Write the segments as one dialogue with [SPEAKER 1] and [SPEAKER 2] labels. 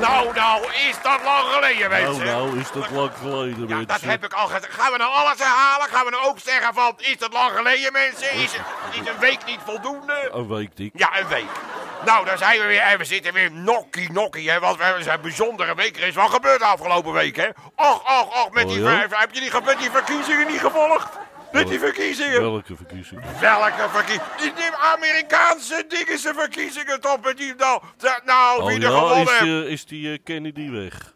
[SPEAKER 1] Nou, is dat lang geleden,
[SPEAKER 2] Nou,
[SPEAKER 1] mensen.
[SPEAKER 2] nou, is dat lang geleden,
[SPEAKER 1] Ja, dat
[SPEAKER 2] mensen.
[SPEAKER 1] heb ik al gezegd. Gaan we nou alles herhalen? Gaan we nou ook zeggen van, is dat lang geleden, mensen? Is, het- is een week niet voldoende?
[SPEAKER 2] Een week dik.
[SPEAKER 1] Ja, een week. Nou, daar zijn we weer. En we zitten weer nokkie nokkie. Hè, want we hebben een bijzondere week. Er is wat gebeurd de afgelopen week, hè? Och, och, och. Met
[SPEAKER 2] Oh,
[SPEAKER 1] die,
[SPEAKER 2] ja?
[SPEAKER 1] ver- heb je die, ge- met die verkiezingen niet gevolgd? Met die verkiezingen?
[SPEAKER 2] Welke verkiezing?
[SPEAKER 1] Welke verkiezingen? Die Amerikaanse dingen, ze verkiezingen toch met die... Nou, de- nou
[SPEAKER 2] Oh
[SPEAKER 1] wie er
[SPEAKER 2] ja,
[SPEAKER 1] gewonnen
[SPEAKER 2] is,
[SPEAKER 1] heeft.
[SPEAKER 2] eh, is die eh, Kennedy weg?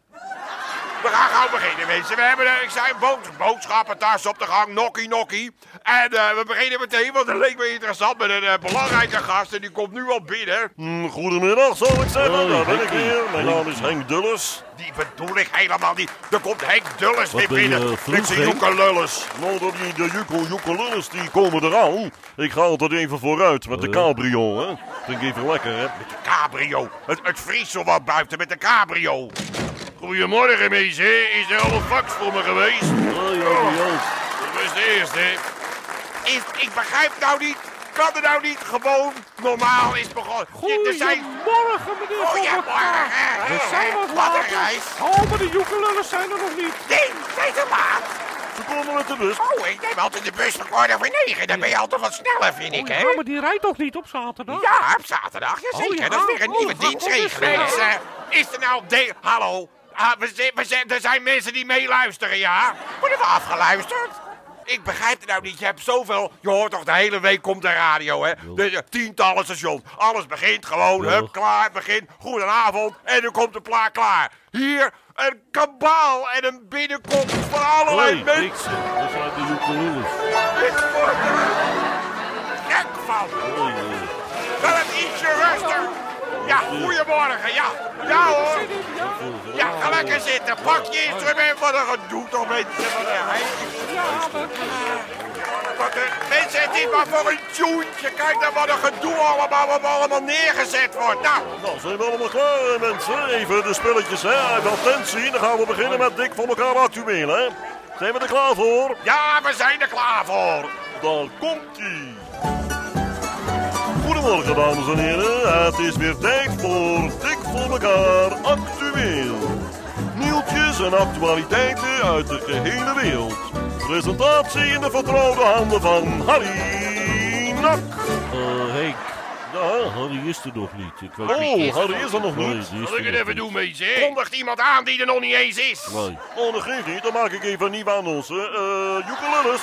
[SPEAKER 1] We gaan gauw beginnen, mensen. We hebben, eh, ik zei, een bood, boodschappentas op de gang, nokkie nokkie. En eh, we beginnen meteen, want het leek me interessant met een eh, belangrijke gast. En die komt nu al binnen.
[SPEAKER 3] Mm, Goedemiddag, zal ik zeggen.
[SPEAKER 2] Hoi,
[SPEAKER 3] Daar ben Nou, ik
[SPEAKER 2] Henkie.
[SPEAKER 3] weer. Mijn naam is
[SPEAKER 2] Henkie.
[SPEAKER 3] Henk Dulles.
[SPEAKER 1] Die bedoel ik helemaal niet. Er komt Henk Dulles
[SPEAKER 2] Wat
[SPEAKER 1] weer
[SPEAKER 2] ben je,
[SPEAKER 1] binnen.
[SPEAKER 2] eh, vroeg,
[SPEAKER 1] Met zijn
[SPEAKER 2] Henk?
[SPEAKER 1] joekelullers.
[SPEAKER 3] Nou, dat die, de Jukko Jukkelunnes, die komen eraan. Ik ga altijd even vooruit met de
[SPEAKER 2] Oh.
[SPEAKER 3] cabrio, hè. Vind ik even lekker, hè.
[SPEAKER 1] Oh, Cabrio. Het, het vriest zo wat buiten met de cabrio. Goedemorgen, mensen. Is er al een fax voor me geweest?
[SPEAKER 2] Oh ja, die Joost.
[SPEAKER 1] Dat was de eerste. Is, ik begrijp nou niet. Kan er nou niet gewoon normaal is begonnen. Dit- Er zijn... Oh,
[SPEAKER 4] Goedemorgen, meneer
[SPEAKER 3] Oh,
[SPEAKER 1] Goedemorgen.
[SPEAKER 3] Eh,
[SPEAKER 4] We zijn wat
[SPEAKER 1] Wat
[SPEAKER 4] later.
[SPEAKER 1] een reis.
[SPEAKER 4] Oh, maar de joekelullers zijn er nog niet.
[SPEAKER 1] Nee, zijn te laat.
[SPEAKER 3] Ze komen met de bus.
[SPEAKER 1] Oh, ik neem altijd de bus van kwart over negen. Dan ben je altijd wat sneller, vind ik, hè?
[SPEAKER 4] Oh, Ja, maar die rijdt toch niet op zaterdag?
[SPEAKER 1] Ja, op zaterdag. Ja,
[SPEAKER 4] Oh,
[SPEAKER 1] zeker.
[SPEAKER 4] ja.
[SPEAKER 1] Dat is weer een
[SPEAKER 4] Oh,
[SPEAKER 1] nieuwe
[SPEAKER 4] dat is
[SPEAKER 1] dienstregeling.
[SPEAKER 4] weer,
[SPEAKER 1] Is,
[SPEAKER 4] ja.
[SPEAKER 1] eh, is er nou... De... Hallo. Ah, we zijn, we zijn, er zijn mensen die meeluisteren, ja? Worden we afgeluisterd? Ik begrijp het nou niet. Je hebt zoveel... Je hoort toch de hele week komt de radio, hè? De, de tientallen stations. Alles begint gewoon.
[SPEAKER 2] Ja.
[SPEAKER 1] Hup, klaar, begin. Goedenavond. En dan komt de plaat klaar. Hier een kabaal en een binnenkomst van allerlei
[SPEAKER 2] Hoi,
[SPEAKER 1] mensen.
[SPEAKER 2] niks. Dat zijn de Joekelullers.
[SPEAKER 1] Dit wordt er gek van.
[SPEAKER 2] Oh ja.
[SPEAKER 1] Wel een ietsje rustig. Ja, goedemorgen. Ja, ja hoor. Ja, ga lekker zitten. Pak je instrument. Wat een gedoe toch, mensen. Wat een heikele-
[SPEAKER 4] Ja, maar-
[SPEAKER 1] Wat een- Mensen, het is maar voor een tjoentje. Kijk dan wat een gedoe allemaal, wat allemaal neergezet wordt. Nou,
[SPEAKER 3] Nou, zijn we allemaal klaar, hè, mensen. Even de spulletjes, hè. Uit attentie. Dan gaan we beginnen met dik voor elkaar actueel, hè. Zijn we er klaar voor?
[SPEAKER 1] ja, we zijn er klaar voor.
[SPEAKER 3] Daar komt ie. Goedemorgen, dames en heren. Het is weer tijd voor Dik voor elkaar actueel. Nieuwtjes en actualiteiten uit de gehele wereld. Presentatie in de vertrouwde handen van Harry Nak.
[SPEAKER 2] Eh, Henk,
[SPEAKER 3] Ja,
[SPEAKER 2] Harry is er nog niet. Ik weet niet.
[SPEAKER 3] oh, Harry is er nog
[SPEAKER 2] Nee,
[SPEAKER 3] niet.
[SPEAKER 2] die is
[SPEAKER 1] Zal ik
[SPEAKER 2] er
[SPEAKER 1] het
[SPEAKER 2] nog
[SPEAKER 1] even
[SPEAKER 2] niet.
[SPEAKER 1] doen, mensen? Kondigt iemand aan die er nog niet eens is.
[SPEAKER 2] Nee.
[SPEAKER 3] Oh, dat geeft niet. Dan maak ik even een nieuwe annonce. Eh, Joeke Lulles.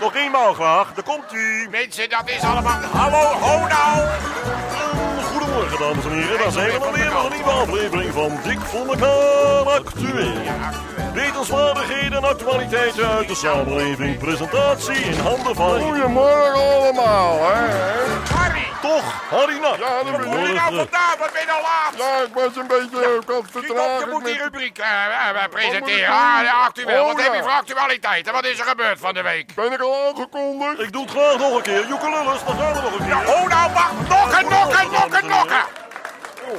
[SPEAKER 3] Nog eenmaal graag. Daar komt ie.
[SPEAKER 1] Mensen, dat is allemaal... Hallo, ho nou.
[SPEAKER 3] Goedemorgen, dames en heren. Daar zijn we dan weer met een nieuwe aflevering van Dik voor elkaar actueel. Wetenswaardigheden en actualiteiten uit de samenleving. Presentatie in handen van...
[SPEAKER 5] Goedemorgen allemaal, hè?
[SPEAKER 1] Harry,
[SPEAKER 3] Toch, Harry Nak.
[SPEAKER 5] Ja, dat
[SPEAKER 1] hoe
[SPEAKER 5] ben
[SPEAKER 1] moet je
[SPEAKER 5] ik.
[SPEAKER 1] nou vandaan? Wat ben je nou laat?
[SPEAKER 5] Ja, ik was een beetje ik had
[SPEAKER 1] Kiet op, je
[SPEAKER 5] vertraging
[SPEAKER 1] moet die
[SPEAKER 5] met...
[SPEAKER 1] rubriek eh, eh,
[SPEAKER 5] moet ik
[SPEAKER 1] presenteren.
[SPEAKER 5] doen?
[SPEAKER 1] Ah, ja, actueel. Wat
[SPEAKER 5] Oh,
[SPEAKER 1] heb je
[SPEAKER 5] ja.
[SPEAKER 1] voor actualiteit? En wat is er gebeurd van de week?
[SPEAKER 5] Ben ik al aangekondigd?
[SPEAKER 3] Ik doe het graag nog een keer. Joeke Lulles, dan gaan we nog een
[SPEAKER 1] Ja,
[SPEAKER 3] keer.
[SPEAKER 1] oh, nou, wacht. Nokken, nokken, nokken, nokken.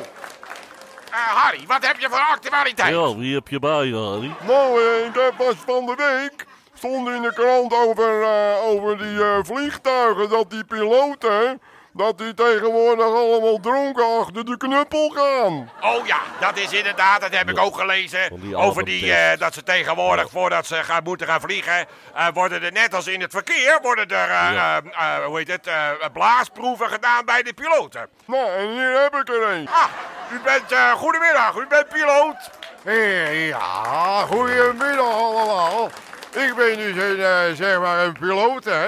[SPEAKER 1] Eh, Harry, wat heb je voor actualiteit?
[SPEAKER 2] Ja, wie heb je bij, Harry?
[SPEAKER 5] Nou, eh, ik heb pas van de week... stond in de krant over, eh, over die eh, vliegtuigen, dat die piloten... dat die tegenwoordig allemaal dronken achter de knuppel gaan.
[SPEAKER 1] Oh ja, dat is inderdaad, dat heb ik ook gelezen.
[SPEAKER 2] Van die
[SPEAKER 1] over die,
[SPEAKER 2] avondtest.
[SPEAKER 1] eh, dat ze tegenwoordig, voordat ze gaan, moeten gaan vliegen, eh, worden er net als in het verkeer, worden er, eh, eh, eh, hoe heet het, eh, blaasproeven gedaan bij de piloten.
[SPEAKER 5] Nou, en hier heb ik er een.
[SPEAKER 1] Ah, u bent, eh, goedemiddag, u bent piloot.
[SPEAKER 5] Eh, Ja, goedemiddag allemaal. Ik ben dus een, eh, zeg maar een piloot, hè.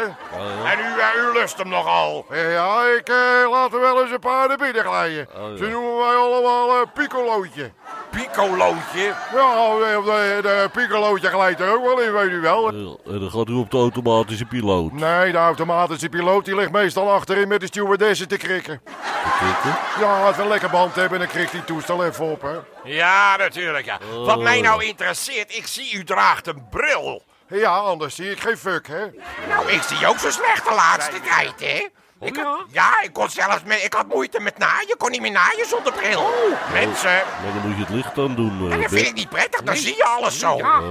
[SPEAKER 1] En u, eh, u lust hem nogal.
[SPEAKER 5] Eh, Ja, ik eh, laat er wel eens een paar naar binnen glijden.
[SPEAKER 2] Oh, ja.
[SPEAKER 5] Ze noemen mij allemaal eh piccolootje.
[SPEAKER 1] Picolootje.
[SPEAKER 5] Ja, de, de, de piccolootje glijdt er ook wel in, weet u wel.
[SPEAKER 2] Ja, En dan gaat u op de automatische piloot.
[SPEAKER 5] Nee, de automatische piloot die ligt meestal achterin met de stewardessen te krikken.
[SPEAKER 2] Kikken.
[SPEAKER 5] Ja, als we een lekker band hebben, dan krikt die toestel even op, hè.
[SPEAKER 1] Ja, natuurlijk, ja. Wat mij nou interesseert, ik zie u draagt een bril.
[SPEAKER 5] Ja, anders zie ik geen fuck, hè.
[SPEAKER 1] Nou, ik zie ook zo slecht de laatste tijd, hè. Ik had-
[SPEAKER 4] ja?
[SPEAKER 1] ja, ik kon zelfs met, ik had moeite met naaien. kon niet meer naaien zonder bril. Mensen,
[SPEAKER 2] Maar dan moet je het licht aan doen,
[SPEAKER 1] dat
[SPEAKER 2] eh,
[SPEAKER 1] vind ik
[SPEAKER 2] Bert.
[SPEAKER 1] niet prettig. Dan zie je alles zo.
[SPEAKER 2] Oh, ja.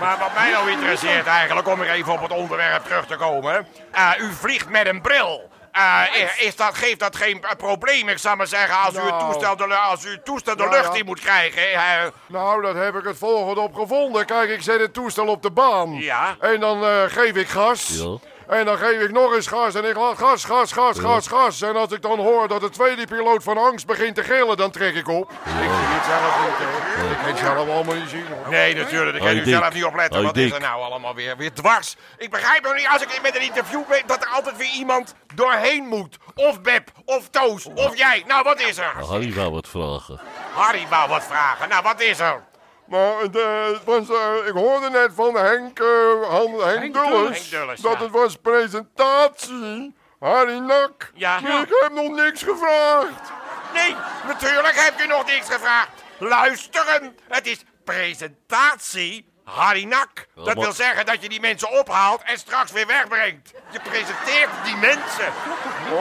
[SPEAKER 1] Maar wat mij nou interesseert eigenlijk, om er even op het onderwerp terug te komen. eh, u vliegt met een bril. Eh, eh, is- is dat, geeft dat geen eh, probleem? Ik zou maar zeggen, als u het
[SPEAKER 5] Nou.
[SPEAKER 1] toestel de, lu- als u het toestel de
[SPEAKER 5] Ja,
[SPEAKER 1] lucht
[SPEAKER 5] ja.
[SPEAKER 1] in moet krijgen. eh,
[SPEAKER 5] Nou, dat heb ik het volgende op gevonden. Kijk, ik zet het toestel op de baan.
[SPEAKER 1] Ja.
[SPEAKER 5] En dan eh, geef ik gas.
[SPEAKER 2] Ja.
[SPEAKER 5] En dan geef ik nog eens gas en ik laat gas, gas, gas, gas, gas. En als ik dan hoor dat de tweede piloot van angst begint te gillen, dan trek ik op. Ik zie het zelf niet, hè. Ik kan het zelf allemaal niet zien, hoor.
[SPEAKER 1] nee, natuurlijk, daar kan
[SPEAKER 2] Hoi,
[SPEAKER 1] u
[SPEAKER 2] Dick.
[SPEAKER 1] zelf niet op letten.
[SPEAKER 2] Hoi,
[SPEAKER 1] Wat is
[SPEAKER 2] Dick.
[SPEAKER 1] er nou allemaal weer? Weer dwars. Ik begrijp nog niet, als ik met een interview ben, dat er altijd weer iemand doorheen moet. Of Beb, of Toos,
[SPEAKER 2] Oh.
[SPEAKER 1] of jij. Nou, wat is er?
[SPEAKER 2] Harry wou wat vragen.
[SPEAKER 1] Harry wou wat vragen. Nou, wat is er?
[SPEAKER 5] Maar het, eh, het was, eh, ik hoorde net van Henk, eh, Han- Henk,
[SPEAKER 4] Henk
[SPEAKER 5] Dulles,
[SPEAKER 1] Henk
[SPEAKER 4] Dulles.
[SPEAKER 1] Dulles,
[SPEAKER 5] dat
[SPEAKER 1] ja.
[SPEAKER 5] het was presentatie. Harry Nak.
[SPEAKER 1] Ja.
[SPEAKER 5] Maar Ik heb nog niks gevraagd.
[SPEAKER 1] Nee, natuurlijk heb je nog niks gevraagd. Luisteren, het is presentatie harinak. Dat
[SPEAKER 2] maar-
[SPEAKER 1] wil zeggen dat je die mensen ophaalt en straks weer wegbrengt. Je presenteert die mensen.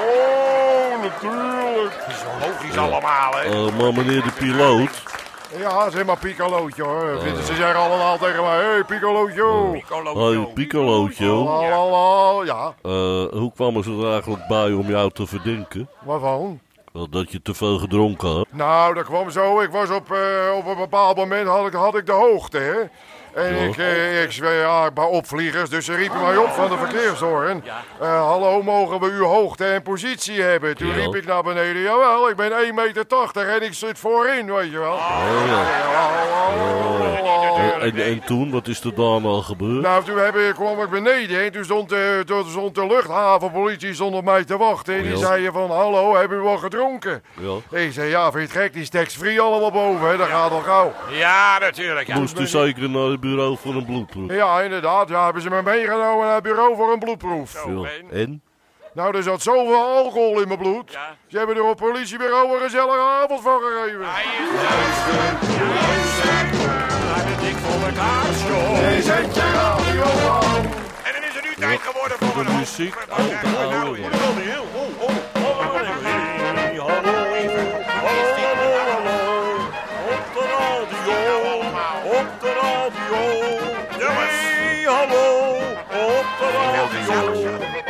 [SPEAKER 5] Oh, natuurlijk.
[SPEAKER 1] Zo logisch allemaal, hè?
[SPEAKER 2] Eh, maar meneer de piloot,
[SPEAKER 5] Ja, zeg maar Piccolootje hoor. Vinden Ze zeggen allemaal tegen mij, hé hey, Piccolootje.
[SPEAKER 1] Piccolo.
[SPEAKER 2] hey, Piccolootje,
[SPEAKER 5] La, la, la. Ja,
[SPEAKER 2] eh, hoe kwamen ze er eigenlijk bij om jou te verdenken?
[SPEAKER 5] waarvan?
[SPEAKER 2] Wel, Dat je te veel gedronken had.
[SPEAKER 5] Nou, dat kwam zo. Ik was op, eh, op een bepaald moment had ik, had ik de hoogte, hè. En
[SPEAKER 2] Ja.
[SPEAKER 5] ik, eh, ik zweer ja, bij opvliegers, dus ze riepen mij op van de verkeershoorn. Eh, hallo, mogen we uw hoogte en positie hebben? Toen
[SPEAKER 2] Ja.
[SPEAKER 5] riep ik naar beneden, jawel, ik ben 1,80 meter en ik zit voorin, weet je wel.
[SPEAKER 2] Oh, ja.
[SPEAKER 5] Ja, hallo.
[SPEAKER 2] Eh, en, en toen, wat is er daarna gebeurd?
[SPEAKER 5] Nou, toen heb ik, kwam ik beneden en toen stond de, toen stond de luchthavenpolitie stond op mij te wachten. En die
[SPEAKER 2] Ja.
[SPEAKER 5] zeiden van, hallo, hebben we wel gedronken?
[SPEAKER 2] Ja.
[SPEAKER 5] Ik zei, ja, vind je het gek, die is tax-free allemaal boven, hè? dat gaat al gauw.
[SPEAKER 1] Ja, natuurlijk. Ja.
[SPEAKER 2] Moest u zeker naar het bureau voor een bloedproef?
[SPEAKER 5] Ja, inderdaad, ja, hebben ze me meegenomen naar het bureau voor een bloedproef.
[SPEAKER 1] Zo,
[SPEAKER 2] Ja.
[SPEAKER 1] en?
[SPEAKER 2] En?
[SPEAKER 5] Nou, er zat zoveel alcohol in mijn bloed.
[SPEAKER 1] Ja.
[SPEAKER 5] Ze hebben er op het politiebureau een gezellige avond van gegeven.
[SPEAKER 1] Hij is luisteren, luisteren naar de dik voor elkaar show.
[SPEAKER 5] Hey, zet je radio aan.
[SPEAKER 1] En dan is het nu tijd geworden voor een
[SPEAKER 2] De muziek.
[SPEAKER 1] hoofd-
[SPEAKER 2] Oh, de oude.
[SPEAKER 1] ja.
[SPEAKER 3] Hallo, Neil. Oh, oh, hallo, Henry. Hallo, hallo, hallo, hallo. Op de radio, op de radio. Hey, hallo, op de radio.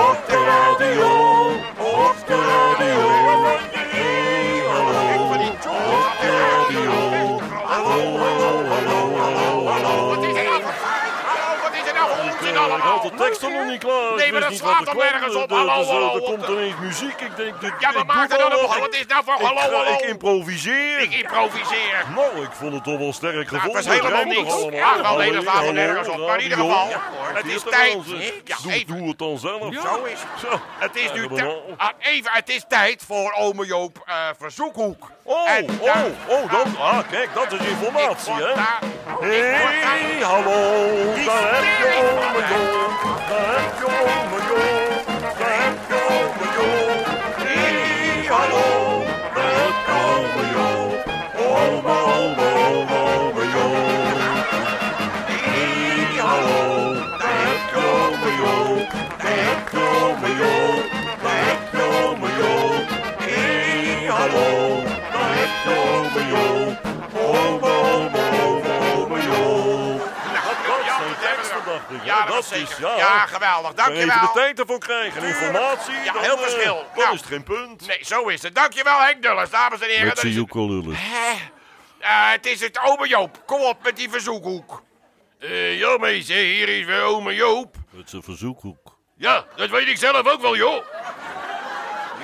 [SPEAKER 3] op de radio, op de radio. Hey, hallo, op de radio. Hallo, hallo, hallo, hallo, hallo.
[SPEAKER 1] Wat is er nou? Hallo, wat is er nou voor onzin
[SPEAKER 3] Eh, Ik had
[SPEAKER 1] allemaal?
[SPEAKER 3] de teksten nog niet klaar.
[SPEAKER 1] Nee, maar
[SPEAKER 3] Ik wist
[SPEAKER 1] dat
[SPEAKER 3] niet
[SPEAKER 1] slaat
[SPEAKER 3] wat er
[SPEAKER 1] toch
[SPEAKER 3] kwam.
[SPEAKER 1] nergens op?
[SPEAKER 3] Er- er-
[SPEAKER 1] Hallo, hallo,
[SPEAKER 3] er- Er
[SPEAKER 1] op
[SPEAKER 3] komt
[SPEAKER 1] de-
[SPEAKER 3] ineens muziek. Ik denk, dit,
[SPEAKER 1] Ja, maar
[SPEAKER 3] ik
[SPEAKER 1] maak er dan
[SPEAKER 3] doe wel
[SPEAKER 1] een
[SPEAKER 3] wat.
[SPEAKER 1] op. Wat is nou voor
[SPEAKER 3] Ik-
[SPEAKER 1] hallo,
[SPEAKER 3] ik-
[SPEAKER 1] hallo?
[SPEAKER 3] Ik improviseer.
[SPEAKER 1] Ik improviseer.
[SPEAKER 3] Nou, ik vond het toch wel sterk
[SPEAKER 1] Het
[SPEAKER 3] gevonden.
[SPEAKER 1] was helemaal
[SPEAKER 3] Rijmt toch
[SPEAKER 1] niks.
[SPEAKER 3] allemaal?
[SPEAKER 1] Ja, wel hele
[SPEAKER 3] Hallo,
[SPEAKER 1] verhaal
[SPEAKER 3] hallo,
[SPEAKER 1] nergens op. Maar in ieder
[SPEAKER 3] radio.
[SPEAKER 1] geval,
[SPEAKER 3] Ja,
[SPEAKER 1] het is
[SPEAKER 3] dit
[SPEAKER 1] tijd.
[SPEAKER 3] dan wel.
[SPEAKER 1] Ja,
[SPEAKER 3] Doe,
[SPEAKER 1] even.
[SPEAKER 3] doe het dan zelf.
[SPEAKER 1] Zo is het.
[SPEAKER 3] Zo.
[SPEAKER 1] Het is nu
[SPEAKER 3] Ja,
[SPEAKER 1] tijd.
[SPEAKER 3] maar-
[SPEAKER 1] even, het is tijd voor ome Joop eh, Verzoekhoek.
[SPEAKER 3] Oh,
[SPEAKER 1] En
[SPEAKER 3] oh,
[SPEAKER 1] daar-
[SPEAKER 3] oh, dan, ah, kijk, dat is informatie,
[SPEAKER 1] Ik
[SPEAKER 3] hè?
[SPEAKER 1] word daar-
[SPEAKER 3] Hé,
[SPEAKER 1] ik word daar-
[SPEAKER 3] hey, hallo, daar heb je
[SPEAKER 1] sterren
[SPEAKER 3] ome
[SPEAKER 1] van
[SPEAKER 3] Joop, daar heb je ome Joop, daar heb je ome Joop. Hé, hallo, daar heb je ome Joop, ome, ome, ome, ome Joop. Hé, hallo, daar heb je ome Joop, daar heb je ome Joop, daar heb je ome Joop. Hé, hallo, daar heb je ome Joop, ome, ome, ome, ome Joop.
[SPEAKER 1] Nou,
[SPEAKER 3] Dat
[SPEAKER 1] ja,
[SPEAKER 3] zijn
[SPEAKER 1] dat hebben
[SPEAKER 3] teksten,
[SPEAKER 1] we.
[SPEAKER 3] dacht ik.
[SPEAKER 1] Ja, dat
[SPEAKER 3] dat
[SPEAKER 1] is
[SPEAKER 3] is,
[SPEAKER 1] zeker.
[SPEAKER 3] ja.
[SPEAKER 1] Ja, geweldig.
[SPEAKER 3] Daar even de
[SPEAKER 1] Dankjewel.
[SPEAKER 3] tijd ervoor krijgen. Informatie.
[SPEAKER 1] Ja,
[SPEAKER 3] dan,
[SPEAKER 1] heel
[SPEAKER 3] eh,
[SPEAKER 1] verschil.
[SPEAKER 3] Dan
[SPEAKER 1] Nou.
[SPEAKER 3] is het geen punt.
[SPEAKER 1] Nee, zo is het. Dankjewel Henk Dulles, dames en heren.
[SPEAKER 2] Met
[SPEAKER 1] Dat
[SPEAKER 2] zijn
[SPEAKER 1] is het.
[SPEAKER 2] joekelullen.
[SPEAKER 1] Hè? Eh, het is het ome Joop. Kom op met die verzoekhoek. Eh, ja, meisje, hier is weer ome Joop.
[SPEAKER 2] Met zijn verzoekhoek.
[SPEAKER 1] Ja, dat weet ik zelf ook wel, joh.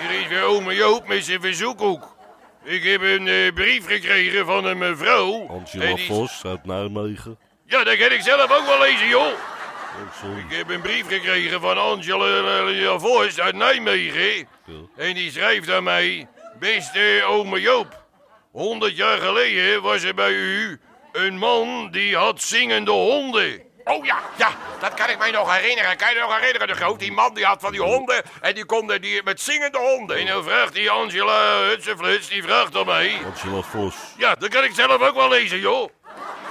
[SPEAKER 1] Hier is weer ome Joop met zijn verzoekhoek. Ik heb een eh, brief gekregen van een mevrouw. En
[SPEAKER 2] Angela
[SPEAKER 1] die-
[SPEAKER 2] Vos uit Nijmegen.
[SPEAKER 1] Ja, dat kan ik zelf ook wel lezen, joh.
[SPEAKER 2] Oh, sorry.
[SPEAKER 1] Ik heb een brief gekregen van Angela eh, Vos uit Nijmegen.
[SPEAKER 2] Ja.
[SPEAKER 1] En die schrijft aan mij... Beste ome Joop, 100 jaar geleden was er bij u een man die had zingende honden. Oh ja, ja, dat kan ik mij nog herinneren. Kan je nog herinneren, de groot? Die man die had van die honden en die kon er die, met zingende honden. En dan vraagt die Angela Hutsefluts, die vraagt aan mij...
[SPEAKER 2] Angela Vos.
[SPEAKER 1] Ja, dat kan ik zelf ook wel lezen, joh.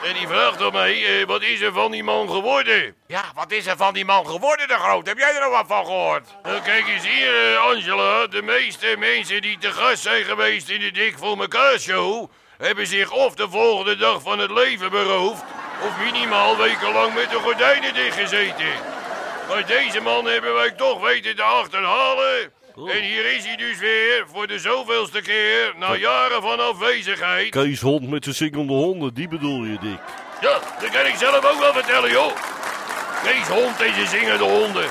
[SPEAKER 1] En die vraagt aan mij, eh, wat is er van die man geworden? Ja, wat is er van die man geworden, de groot? Heb jij er nog wat van gehoord? Nou, kijk eens hier, eh, Angela. De meeste mensen die te gast zijn geweest in de Dik voor mekaar show... hebben zich of de volgende dag van het leven beroofd, of minimaal wekenlang met de gordijnen dichtgezeten. Maar deze man hebben wij toch weten te achterhalen. En hier is hij dus weer, voor de zoveelste keer, na jaren van afwezigheid.
[SPEAKER 2] Kees Hond met zijn zingende honden, die bedoel je, Dick.
[SPEAKER 1] Ja, dat kan ik zelf ook wel vertellen, joh. Kees Hond en zijn zingende honden.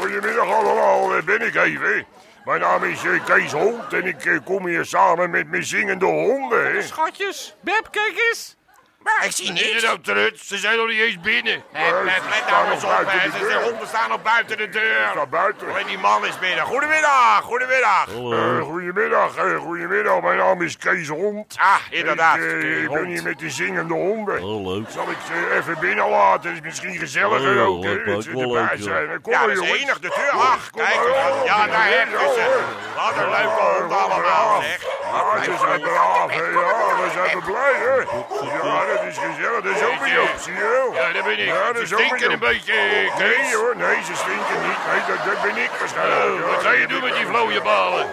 [SPEAKER 5] Goedemiddag allemaal, daar ben ik even. Mijn naam is eh, Kees Hond en ik eh, kom hier samen met mijn zingende honden. hè.
[SPEAKER 4] Schatjes, Dus, Beb, kijk eens.
[SPEAKER 1] Maar ik zie niks. Is het nou trut? Ze zijn nog niet eens binnen.
[SPEAKER 5] ze
[SPEAKER 1] Let
[SPEAKER 5] staan
[SPEAKER 1] nou eens
[SPEAKER 5] nog
[SPEAKER 1] op,
[SPEAKER 5] buiten
[SPEAKER 1] hè.
[SPEAKER 5] de
[SPEAKER 1] Ze
[SPEAKER 5] deur.
[SPEAKER 1] zijn honden staan nog buiten de deur.
[SPEAKER 5] Sta buiten.
[SPEAKER 1] Alleen die man is binnen. Goedemiddag, goedemiddag.
[SPEAKER 5] Eh, goedemiddag, eh, goedemiddag. Mijn naam is Kees Hond.
[SPEAKER 1] Ah, inderdaad.
[SPEAKER 5] Ik, eh,
[SPEAKER 1] Kees
[SPEAKER 5] ik ben
[SPEAKER 1] Hond.
[SPEAKER 5] hier met de zingende honden.
[SPEAKER 2] Oh, leuk.
[SPEAKER 5] Zal ik ze even binnen laten? Is misschien gezelliger
[SPEAKER 2] Oh,
[SPEAKER 5] ook, hè?
[SPEAKER 2] leuk,
[SPEAKER 5] Dat ze
[SPEAKER 2] leuk,
[SPEAKER 5] erbij
[SPEAKER 2] leuk,
[SPEAKER 5] zijn. Kom
[SPEAKER 1] Ja,
[SPEAKER 5] maar,
[SPEAKER 1] dat is
[SPEAKER 5] jongens.
[SPEAKER 1] enig, de deur.
[SPEAKER 5] Kom,
[SPEAKER 1] Ach,
[SPEAKER 5] kom
[SPEAKER 1] kijk.
[SPEAKER 5] maar,
[SPEAKER 1] Ja,
[SPEAKER 5] oh,
[SPEAKER 1] ja, daar
[SPEAKER 5] ja,
[SPEAKER 1] heb je ze. Wat een leuke honden allemaal, zeg.
[SPEAKER 5] Ja, ze zijn braaf, hè? Ja, we zijn blij, hè? Ja, dat is gezellig. Dat is ook weer Joop, zie je wel?
[SPEAKER 1] Ja, daar ben ik.
[SPEAKER 5] Ja, dat
[SPEAKER 1] ze
[SPEAKER 5] is ook weer
[SPEAKER 1] stinken een
[SPEAKER 5] Joop.
[SPEAKER 1] beetje, eh,
[SPEAKER 5] Nee,
[SPEAKER 1] Kees.
[SPEAKER 5] hoor. Nee, ze stinken niet. Nee, dat, dat ben ik waarschijnlijk.
[SPEAKER 1] Oh,
[SPEAKER 5] Ja,
[SPEAKER 1] wat ga je
[SPEAKER 5] dat
[SPEAKER 1] doen
[SPEAKER 5] ben
[SPEAKER 1] met
[SPEAKER 5] ik
[SPEAKER 1] die
[SPEAKER 5] wel.
[SPEAKER 1] vlooie balen?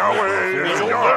[SPEAKER 5] Nou, eh,
[SPEAKER 1] Bijzonder.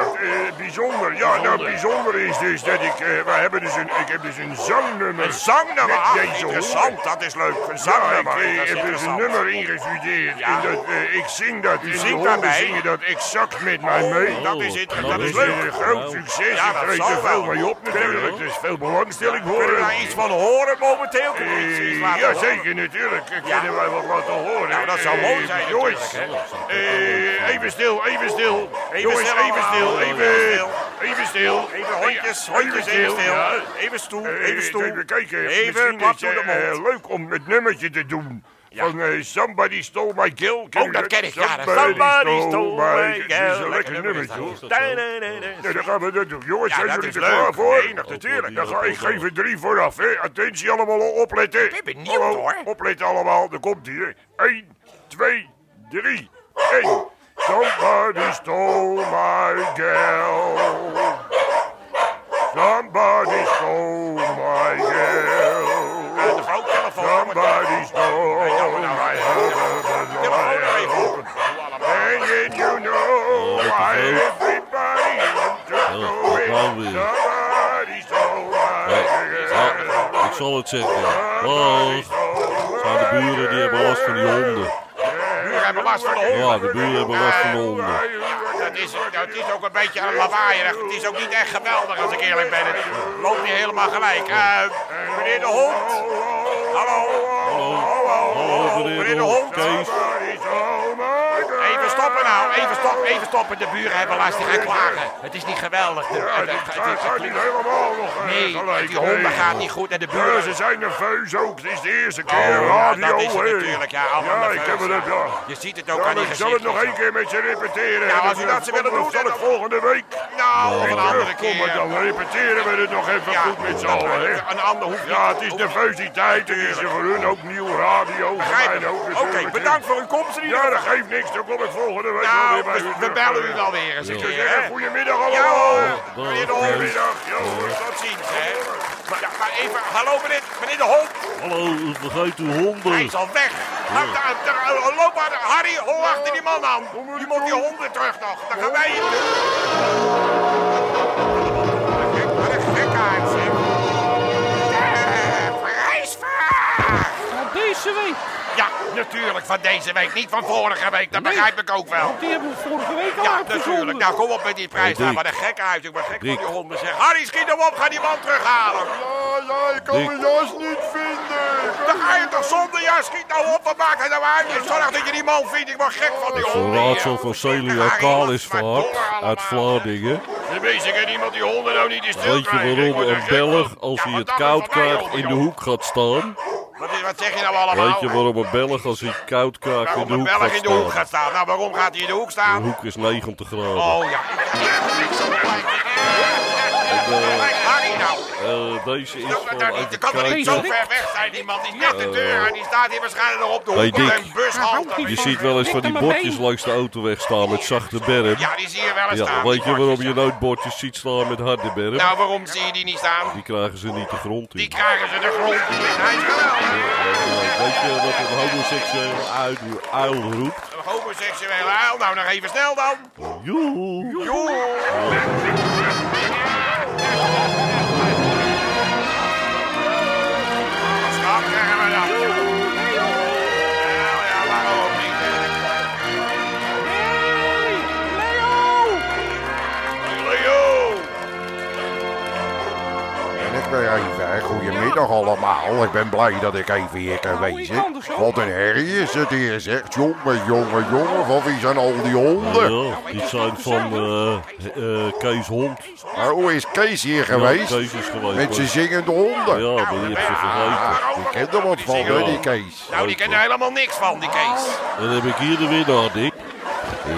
[SPEAKER 5] ja, eh, bijzonder. Ja, nou, bijzonder is dus dat ik... eh, wij hebben dus een, ik heb dus een zangnummer.
[SPEAKER 1] Een zangnummer.
[SPEAKER 5] Met
[SPEAKER 1] Ah,
[SPEAKER 5] deze
[SPEAKER 1] Interessant, dat is leuk.
[SPEAKER 5] Ja,
[SPEAKER 1] Een zangnummer.
[SPEAKER 5] ik, eh,
[SPEAKER 1] dat is
[SPEAKER 5] heb dus een
[SPEAKER 1] interessant.
[SPEAKER 5] nummer ingestudeerd.
[SPEAKER 1] Ja.
[SPEAKER 5] En dat, eh, ik zing dat. en de
[SPEAKER 1] zingt
[SPEAKER 5] honden
[SPEAKER 1] daarbij?
[SPEAKER 5] zingen dat exact met mij
[SPEAKER 1] Oh,
[SPEAKER 5] mee.
[SPEAKER 1] Dat is
[SPEAKER 2] nou,
[SPEAKER 1] interessant.
[SPEAKER 5] Dat is
[SPEAKER 1] leuk.
[SPEAKER 5] een groot succes.
[SPEAKER 1] Ja,
[SPEAKER 5] ik
[SPEAKER 1] dat
[SPEAKER 5] reed
[SPEAKER 1] zal
[SPEAKER 5] er veel
[SPEAKER 1] wel.
[SPEAKER 5] mee op natuurlijk.
[SPEAKER 1] dus
[SPEAKER 5] Er is veel belangstelling voor.
[SPEAKER 1] Kunnen we daar iets van horen momenteel? Kunnen we iets- iets
[SPEAKER 5] Eh,
[SPEAKER 1] laten
[SPEAKER 5] ja,
[SPEAKER 1] horen?
[SPEAKER 5] zeker, natuurlijk. Kunnen
[SPEAKER 1] Ja.
[SPEAKER 5] wij wat laten horen?
[SPEAKER 1] Nou, dat zou
[SPEAKER 5] Eh,
[SPEAKER 1] mooi zijn
[SPEAKER 5] Jongens,
[SPEAKER 1] natuurlijk,
[SPEAKER 5] eh, even stil, even stil. jongens,
[SPEAKER 1] stil
[SPEAKER 5] even
[SPEAKER 1] allemaal.
[SPEAKER 5] stil, even,
[SPEAKER 1] Even stil.
[SPEAKER 5] even stil.
[SPEAKER 1] Even hondjes, hondjes, even stil.
[SPEAKER 5] ja.
[SPEAKER 1] Even stoel,
[SPEAKER 5] Eh,
[SPEAKER 1] even stoel.
[SPEAKER 5] Even kijken.
[SPEAKER 1] Even
[SPEAKER 5] Misschien
[SPEAKER 1] plat
[SPEAKER 5] is
[SPEAKER 1] door de
[SPEAKER 5] het eh,
[SPEAKER 1] mond.
[SPEAKER 5] leuk om het nummertje te doen.
[SPEAKER 1] Ja. Oh,
[SPEAKER 5] Van eh, Somebody Stole My Girl. Ken je
[SPEAKER 1] dat ken ik, ja, dat-
[SPEAKER 5] eh, Somebody
[SPEAKER 1] Somebody
[SPEAKER 5] Stole
[SPEAKER 1] Stole My
[SPEAKER 5] My Girl. Dat is
[SPEAKER 1] Girl.
[SPEAKER 5] een lekker
[SPEAKER 1] Lekker nummer is
[SPEAKER 5] nummertje,
[SPEAKER 1] dat.
[SPEAKER 5] hoor.
[SPEAKER 1] Nee, nee, nee, nee.
[SPEAKER 5] Ja, dan gaan we dat doen. Jongens,
[SPEAKER 1] Ja,
[SPEAKER 5] zijn
[SPEAKER 1] dat
[SPEAKER 5] jullie
[SPEAKER 1] is
[SPEAKER 5] er
[SPEAKER 1] leuk.
[SPEAKER 5] klaar voor?
[SPEAKER 1] Enig, natuurlijk.
[SPEAKER 5] Dan ga ik geef er drie vooraf, hè. Attentie allemaal, opletten.
[SPEAKER 1] ben benieuwd,
[SPEAKER 5] Hallo,
[SPEAKER 1] hoor.
[SPEAKER 5] Opletten allemaal, daar komt hij, hè. Eén, twee, drie, één. Somebody stole my girl. Somebody stole my girl.
[SPEAKER 1] De vrouwtelefoon.
[SPEAKER 5] Somebody stole my
[SPEAKER 1] Telefoon
[SPEAKER 5] girl. And yet you know
[SPEAKER 2] Oh,
[SPEAKER 5] why
[SPEAKER 2] dat is leuk.
[SPEAKER 5] everybody wants to
[SPEAKER 2] dat
[SPEAKER 5] know it.
[SPEAKER 2] nou weer.
[SPEAKER 5] Somebody stole my girl.
[SPEAKER 2] Ja, ik zal het zeggen. Oh, zijn de buren die hebben last van die honden.
[SPEAKER 1] Buren hebben last van de honden.
[SPEAKER 2] Ja, de buren hebben last van de honden.
[SPEAKER 1] Dat is, dat is ook een beetje een lawaaierig. Het is ook niet echt geweldig, als ik eerlijk ben. Het loopt niet helemaal gelijk. Eh, meneer de hond. Hallo.
[SPEAKER 2] Hallo,
[SPEAKER 1] meneer de
[SPEAKER 2] meneer de
[SPEAKER 1] Hond.
[SPEAKER 2] Hond. Kees.
[SPEAKER 1] Even stoppen nou. Even, stop, even stoppen. De buren hebben last. Die gaan klagen. Het is niet geweldig. De,
[SPEAKER 5] Ja,
[SPEAKER 1] het-
[SPEAKER 5] dit
[SPEAKER 1] het-
[SPEAKER 5] gaat,
[SPEAKER 1] het-
[SPEAKER 5] gaat niet helemaal nog eh,
[SPEAKER 1] Nee,
[SPEAKER 5] gelijk.
[SPEAKER 1] met die honden
[SPEAKER 5] nee.
[SPEAKER 1] gaat niet goed en de
[SPEAKER 5] Ja,
[SPEAKER 1] buren...
[SPEAKER 5] ze
[SPEAKER 1] ze-
[SPEAKER 5] zijn nerveus ook. Het is de eerste
[SPEAKER 1] Oh,
[SPEAKER 5] keer
[SPEAKER 1] ja,
[SPEAKER 5] radio.
[SPEAKER 1] dat is het
[SPEAKER 5] hè.
[SPEAKER 1] natuurlijk, ja. allemaal
[SPEAKER 5] Ja, ik
[SPEAKER 1] nerveus,
[SPEAKER 5] heb het
[SPEAKER 1] ja.
[SPEAKER 5] ook, ja.
[SPEAKER 1] Je ziet het ook
[SPEAKER 5] Ja,
[SPEAKER 1] aan die
[SPEAKER 5] ik zal het
[SPEAKER 1] gezichten.
[SPEAKER 5] nog één keer met ze repeteren.
[SPEAKER 1] Nou,
[SPEAKER 5] En
[SPEAKER 1] als u dat ze willen
[SPEAKER 5] dan
[SPEAKER 1] doen,
[SPEAKER 5] zal ik
[SPEAKER 1] dan-
[SPEAKER 5] volgende week.
[SPEAKER 1] Nou, of
[SPEAKER 5] weer
[SPEAKER 1] een andere
[SPEAKER 5] terugkomen.
[SPEAKER 1] keer.
[SPEAKER 5] Dan repeteren we het nog even
[SPEAKER 1] Ja,
[SPEAKER 5] goed met z'n
[SPEAKER 1] dat-
[SPEAKER 5] allen. hè.
[SPEAKER 1] een ander hoeft
[SPEAKER 5] Ja,
[SPEAKER 1] niet-
[SPEAKER 5] het is
[SPEAKER 1] hoeft-
[SPEAKER 5] nerveus die tijd. Het is voor hun ook nieuw radio. voor
[SPEAKER 1] Begrijp
[SPEAKER 5] mij
[SPEAKER 1] ik.
[SPEAKER 5] ook
[SPEAKER 1] Oké,
[SPEAKER 5] natuurlijk, hè.
[SPEAKER 1] bedankt voor uw komst in ieder
[SPEAKER 5] Ja,
[SPEAKER 1] geval.
[SPEAKER 5] dat geeft niks. Dan kom ik volgende week wel
[SPEAKER 1] Nou,
[SPEAKER 5] weer bij u
[SPEAKER 1] we, we
[SPEAKER 5] terug.
[SPEAKER 1] bellen u wel weer eens een
[SPEAKER 5] Dus
[SPEAKER 1] keer,
[SPEAKER 5] zeg,
[SPEAKER 1] hè?
[SPEAKER 5] Goedemiddag
[SPEAKER 1] Ja,
[SPEAKER 5] allemaal.
[SPEAKER 1] hoor. meneer de Hond.
[SPEAKER 5] Goedemiddag. Ja, hoor.
[SPEAKER 1] Tot ziens, hè. Maar, ja, maar even, hallo meneer, meneer de Hond.
[SPEAKER 2] Hallo, vergeet uw
[SPEAKER 1] Hij
[SPEAKER 2] honden.
[SPEAKER 1] is al weg. Laat daar, daar- eh, loop maar, Harry, hol achter die man aan. Die moet die honden terug nog. Dan gaan wij hier terug. Wat een gekkaard, zeg. Eh, Prijsvraag!
[SPEAKER 4] Van deze week.
[SPEAKER 1] Ja, natuurlijk van deze week, niet van vorige week. Dat
[SPEAKER 4] Nee.
[SPEAKER 1] begrijp ik ook wel.
[SPEAKER 4] Die hebben we vorige week al
[SPEAKER 1] Ja, natuurlijk.
[SPEAKER 4] uitgezonden.
[SPEAKER 1] Nou, kom op met die prijs.
[SPEAKER 2] Hey,
[SPEAKER 1] daar.
[SPEAKER 2] Dick.
[SPEAKER 1] Wat een gek uit. Ik ben gek van
[SPEAKER 2] Dick.
[SPEAKER 1] die honden. Zeg, Harry, schiet hem op. Ga die man terughalen.
[SPEAKER 5] Ja, ja, ik kan
[SPEAKER 2] Dick.
[SPEAKER 5] mijn jas niet vinden.
[SPEAKER 1] Dan ga je toch zonder jas. Schiet nou op. Wat maakt hij nou uit? Je zorg dat je die man vindt. Ik word gek van die
[SPEAKER 2] Een
[SPEAKER 1] honden.
[SPEAKER 2] raadsel
[SPEAKER 1] hier.
[SPEAKER 2] van
[SPEAKER 1] Harry,
[SPEAKER 2] Celia
[SPEAKER 1] wat
[SPEAKER 2] Kalis
[SPEAKER 1] maar
[SPEAKER 2] verhard
[SPEAKER 1] door allemaal.
[SPEAKER 2] uit Vlaardingen.
[SPEAKER 1] Tenminste, ik ken iemand die honden nou niet in stil
[SPEAKER 2] Weet je
[SPEAKER 1] krijgt. Ik word
[SPEAKER 2] waarom
[SPEAKER 1] er
[SPEAKER 2] een
[SPEAKER 1] gek
[SPEAKER 2] Belg,
[SPEAKER 1] van.
[SPEAKER 2] als
[SPEAKER 1] Ja,
[SPEAKER 2] hij
[SPEAKER 1] want
[SPEAKER 2] het
[SPEAKER 1] dat is
[SPEAKER 2] koud
[SPEAKER 1] van mij,
[SPEAKER 2] krijgt,
[SPEAKER 1] honden,
[SPEAKER 2] in de
[SPEAKER 1] joh.
[SPEAKER 2] hoek gaat staan?
[SPEAKER 1] Wat, is- wat zeg je nou allemaal?
[SPEAKER 2] Weet je waarom een Belg, als hij het koud krijgt, in
[SPEAKER 1] Waarom
[SPEAKER 2] de
[SPEAKER 1] een
[SPEAKER 2] hoek
[SPEAKER 1] Belg
[SPEAKER 2] gaat
[SPEAKER 1] in de hoek
[SPEAKER 2] staan?
[SPEAKER 1] gaat staan? Nou, waarom gaat hij in de hoek
[SPEAKER 2] De
[SPEAKER 1] staan?
[SPEAKER 2] hoek is 90 graden.
[SPEAKER 1] Oh ja. Harry nou.
[SPEAKER 2] Eh, deze is
[SPEAKER 1] Dat,
[SPEAKER 2] van
[SPEAKER 1] dat, niet-
[SPEAKER 2] even
[SPEAKER 1] dat kan toch niet
[SPEAKER 2] kijken. Eh,
[SPEAKER 1] zo ver weg zijn, die man. Die is net de deur en die staat hier waarschijnlijk nog op de
[SPEAKER 2] Hey,
[SPEAKER 1] hoek van
[SPEAKER 2] Dick.
[SPEAKER 1] een bushalte.
[SPEAKER 2] Je ziet wel eens van die bordjes langs de autoweg staan met zachte berm.
[SPEAKER 1] Ja, die zie je wel eens
[SPEAKER 2] Ja,
[SPEAKER 1] staan.
[SPEAKER 2] weet je waarom je
[SPEAKER 1] nou...
[SPEAKER 2] nooit bordjes ziet staan met harde berm?
[SPEAKER 1] Nou, waarom zie je die niet staan?
[SPEAKER 2] Die krijgen ze niet de grond
[SPEAKER 1] Die
[SPEAKER 2] in.
[SPEAKER 1] krijgen ze de grond in. Hij is geweldig.
[SPEAKER 2] Eh, Weet je wat een homoseksuele uil, uil roept?
[SPEAKER 1] Een homoseksuele uil. Nou, nog even snel dan.
[SPEAKER 2] Joe!
[SPEAKER 1] Joe.
[SPEAKER 3] Nou Nou,
[SPEAKER 5] eh, even, hè. goedemiddag allemaal. Ik ben blij dat ik even hier kan
[SPEAKER 4] Nou, ik
[SPEAKER 5] wezen.
[SPEAKER 4] anders ook.
[SPEAKER 5] Wat een herrie is het hier, zeg. Jongen, jongen, jongen, van wie zijn al die honden?
[SPEAKER 2] Ja, die zijn van eh, eh, Kees Hond.
[SPEAKER 5] Maar hoe is Kees hier
[SPEAKER 2] Ja,
[SPEAKER 5] geweest?
[SPEAKER 2] Kees is geweest.
[SPEAKER 5] Met zijn zingende honden.
[SPEAKER 2] Ja, maar die heb ze vergeten.
[SPEAKER 5] Ah, die kent er wat van, hè, die Kees.
[SPEAKER 3] Nou, die kent er helemaal niks van, die Kees.
[SPEAKER 2] En dan heb ik hier de winnaar, Dick.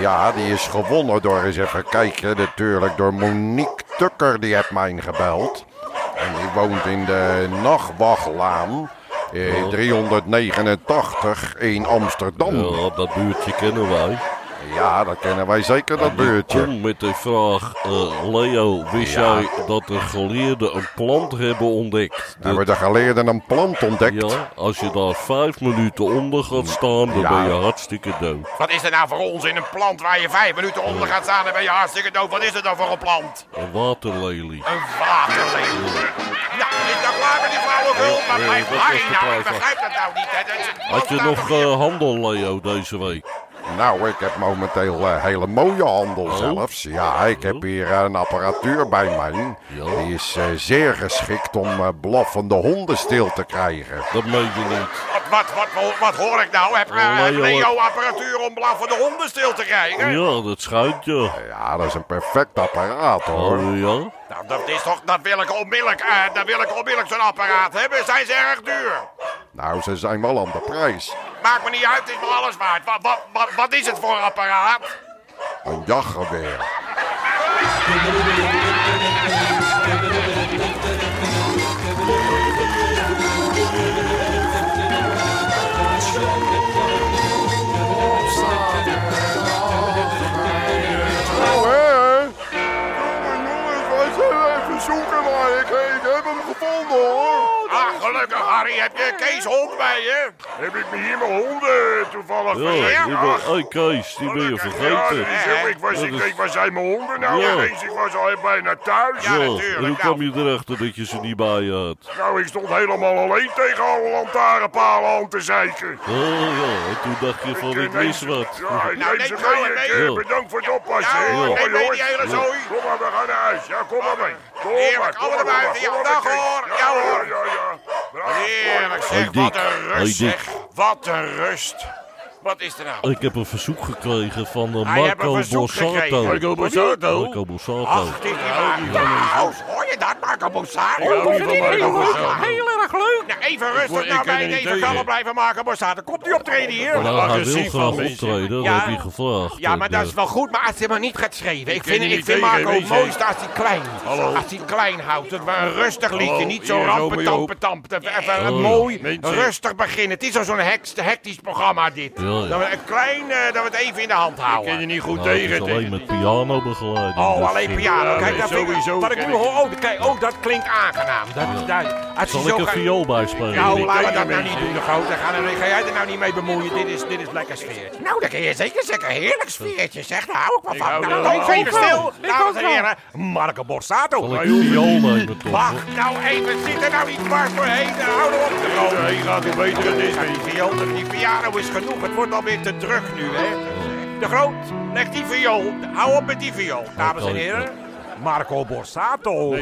[SPEAKER 5] Ja, die is gewonnen door eens even kijken. Natuurlijk door Monique Tukker, die heeft mij gebeld. En die woont in de Nachtwachtlaan. eh, 389 in Amsterdam.
[SPEAKER 2] Ja, dat buurtje kennen wij.
[SPEAKER 5] Ja, dat kennen wij zeker, dat beurtje.
[SPEAKER 2] Kom met de vraag, eh, Leo, wist
[SPEAKER 5] Ja.
[SPEAKER 2] jij dat de geleerden een plant hebben ontdekt? Dat-
[SPEAKER 5] Hebben de geleerden een plant ontdekt?
[SPEAKER 2] ja, als je daar vijf minuten onder gaat staan, dan
[SPEAKER 5] Ja.
[SPEAKER 2] ben je hartstikke dood.
[SPEAKER 3] Wat is er nou voor ons in een plant waar je vijf minuten onder gaat staan en ben je hartstikke dood? Wat is er dan voor een plant?
[SPEAKER 2] Een waterlelie.
[SPEAKER 3] Een waterleeuw. Nou, is dat klaar met die flauwekul? Maar
[SPEAKER 2] Ja,
[SPEAKER 3] blijf
[SPEAKER 2] dat
[SPEAKER 3] blij
[SPEAKER 2] was de
[SPEAKER 3] nou, ik
[SPEAKER 2] prijs.
[SPEAKER 3] begrijp dat nou niet. Hè. Dat is een
[SPEAKER 2] Had je
[SPEAKER 3] plant
[SPEAKER 2] nog
[SPEAKER 3] nou-
[SPEAKER 2] eh, handel, Leo, deze week?
[SPEAKER 5] Nou, ik heb momenteel eh, hele mooie handel
[SPEAKER 2] Oh.
[SPEAKER 5] zelfs. Ja, ik heb hier eh, een apparatuur bij mij.
[SPEAKER 2] Ja.
[SPEAKER 5] Die is eh, zeer geschikt om eh, blaffende honden stil te krijgen.
[SPEAKER 2] Dat meen je niet.
[SPEAKER 3] Wat, wat, wat, wat, wat hoor ik nou? Heb
[SPEAKER 2] Oh,
[SPEAKER 3] eh, heb
[SPEAKER 2] Leo.
[SPEAKER 3] Leo apparatuur om blaffende honden stil te krijgen?
[SPEAKER 2] Ja, dat schijnt ja.
[SPEAKER 5] Ja, dat is een perfect apparaat hoor.
[SPEAKER 2] Oh, ja?
[SPEAKER 3] Nou, dat is toch, dat wil ik onmiddellijk, eh, dat wil ik onmiddellijk zo'n apparaat hebben. Zijn ze erg duur?
[SPEAKER 5] Nou, ze zijn wel aan de prijs.
[SPEAKER 3] Maakt me niet uit, het is me alles waard. Wat, wat, wat, wat is het voor apparaat?
[SPEAKER 5] Een jachtgeweer. Nou hè? Jongen, jongens, wij zijn even zoeken maar ik, ik heb hem gevonden hoor.
[SPEAKER 3] Ah, gelukkig, Harry, heb je Kees Hond bij je?
[SPEAKER 5] Heb ik me hier mijn honden toevallig
[SPEAKER 2] Ja, die ben, hey Kees, die ben je vergeten.
[SPEAKER 3] zo, ik
[SPEAKER 2] Dat is-
[SPEAKER 5] waar zijn mijn honden
[SPEAKER 2] nou Ja. ineens?
[SPEAKER 5] Ik was al bijna thuis.
[SPEAKER 3] Ja,
[SPEAKER 2] Ja,
[SPEAKER 3] natuurlijk,
[SPEAKER 2] en hoe
[SPEAKER 3] nou.
[SPEAKER 2] kwam je erachter dat je ze niet bij je had?
[SPEAKER 5] Nou, ik stond helemaal alleen tegen alle lantaarnpalen aan te zeiken.
[SPEAKER 2] Oh ja, en toen dacht je van, ik mis wat.
[SPEAKER 3] Nou, neem ze mee, neem
[SPEAKER 2] Ja.
[SPEAKER 5] eh, Bedankt voor het oppassen.
[SPEAKER 3] Ja,
[SPEAKER 5] hè.
[SPEAKER 3] hoor,
[SPEAKER 5] Hoi,
[SPEAKER 3] neem mee
[SPEAKER 5] hoi.
[SPEAKER 3] die hele zooi.
[SPEAKER 5] Kom maar, we gaan naar huis. Ja, kom maar mee. Kom maar,
[SPEAKER 3] Heerlijk,
[SPEAKER 5] kom
[SPEAKER 3] allemaal
[SPEAKER 5] maar,
[SPEAKER 3] naar
[SPEAKER 5] kom
[SPEAKER 3] buiten. Ja,
[SPEAKER 5] maar,
[SPEAKER 3] dag
[SPEAKER 5] kom maar,
[SPEAKER 3] hoor.
[SPEAKER 5] Kees.
[SPEAKER 3] Ja hoor.
[SPEAKER 5] Ja, ja, ja. Braaf.
[SPEAKER 3] Heerlijk, zeg,
[SPEAKER 2] Hoi, Dick.
[SPEAKER 3] wat een rust,
[SPEAKER 2] Hoi, Dick.
[SPEAKER 3] zeg. Wat een rust. Wat is er nou?
[SPEAKER 2] Ik heb een verzoek gekregen van eh,
[SPEAKER 3] Hij heeft
[SPEAKER 2] Marco
[SPEAKER 3] een verzoek
[SPEAKER 2] Borsato.
[SPEAKER 3] gekregen. Marco Borsato?
[SPEAKER 2] Marco Borsato.
[SPEAKER 3] Ach, dit is niet waar. Nou, hoor je dat, Marco Borsato?
[SPEAKER 4] Oh,
[SPEAKER 3] Nou,
[SPEAKER 4] dat vind ik heel leuk. Heel erg leuk.
[SPEAKER 3] even rustig
[SPEAKER 1] word- ik
[SPEAKER 3] nou
[SPEAKER 1] kan
[SPEAKER 3] bij
[SPEAKER 1] er niet
[SPEAKER 3] even
[SPEAKER 1] tegen.
[SPEAKER 3] kalm blijven maken, Borsato. Komt die optreden hier?
[SPEAKER 2] Nou, hij wil
[SPEAKER 1] agressief
[SPEAKER 2] graag
[SPEAKER 1] van mensen.
[SPEAKER 2] optreden, dat
[SPEAKER 3] Ja.
[SPEAKER 2] heb je gevraagd.
[SPEAKER 3] Ja, maar
[SPEAKER 2] En,
[SPEAKER 3] dat
[SPEAKER 2] eh,
[SPEAKER 3] is wel goed, maar als hij maar niet gaat schreven. Ik
[SPEAKER 1] ken
[SPEAKER 3] vind,
[SPEAKER 1] je
[SPEAKER 3] ik
[SPEAKER 1] niet
[SPEAKER 3] vind
[SPEAKER 1] tegen,
[SPEAKER 3] Marco het
[SPEAKER 1] weet je.
[SPEAKER 3] mooiste als hij klein is.
[SPEAKER 1] Hallo.
[SPEAKER 3] Als hij klein houdt. Het was een rustig liedje,
[SPEAKER 1] Hallo,
[SPEAKER 3] niet zo
[SPEAKER 1] hier is Romeo.
[SPEAKER 3] rampetampetamp. Even een
[SPEAKER 2] Oh.
[SPEAKER 3] mooi,
[SPEAKER 1] Mensen.
[SPEAKER 3] rustig beginnen. Het is al zo'n heks- hectisch programma, dit.
[SPEAKER 2] Ja, ja.
[SPEAKER 3] Dat we een klein, eh, dat we het even in de hand
[SPEAKER 1] Ik ken je
[SPEAKER 3] houden.
[SPEAKER 1] niet goed
[SPEAKER 2] nou, het is
[SPEAKER 1] tegen.
[SPEAKER 2] alleen met piano begeleiding.
[SPEAKER 3] Oh,
[SPEAKER 2] dus,
[SPEAKER 3] alleen
[SPEAKER 2] eh,
[SPEAKER 3] piano. Kijk,
[SPEAKER 1] nee,
[SPEAKER 3] dat vind ik,
[SPEAKER 1] sowieso
[SPEAKER 3] wat ik
[SPEAKER 1] ken
[SPEAKER 3] nu
[SPEAKER 1] ik
[SPEAKER 3] hoor, oh, kijk, oh, dat klinkt aangenaam. Dat, dat, als hij
[SPEAKER 2] Zal
[SPEAKER 3] zo
[SPEAKER 2] ik een
[SPEAKER 3] gaat-
[SPEAKER 2] viool bijspelen?
[SPEAKER 3] Nou,
[SPEAKER 1] Ik
[SPEAKER 3] laten we
[SPEAKER 1] denk dat
[SPEAKER 3] dat nou
[SPEAKER 1] mensen-
[SPEAKER 3] niet doen, de grote. Ga, nou- ga jij er nou niet mee bemoeien. Dit is, dit is lekker sfeer. Nou, dat kun je zeker zeggen. Heerlijk sfeertje, zeg. Daar hou ik wel van.
[SPEAKER 1] hou wel
[SPEAKER 3] Nou, dan
[SPEAKER 4] van.
[SPEAKER 3] even stil.
[SPEAKER 4] Ik
[SPEAKER 3] Dames
[SPEAKER 4] ook
[SPEAKER 3] en
[SPEAKER 4] wel.
[SPEAKER 3] heren, Marco Borsato.
[SPEAKER 2] Zal ik een viool nemen, toch?
[SPEAKER 3] Wacht nou even, zit er nou niet dwars doorheen. Nou, Hou er op te komen.
[SPEAKER 1] Nee, gaat het beter dan dit.
[SPEAKER 3] Die viool, die piano is genoeg. Het wordt alweer te druk nu, hè. De groot, leg die viool. Hou op met die viool, dames en heren. Marco Borsato.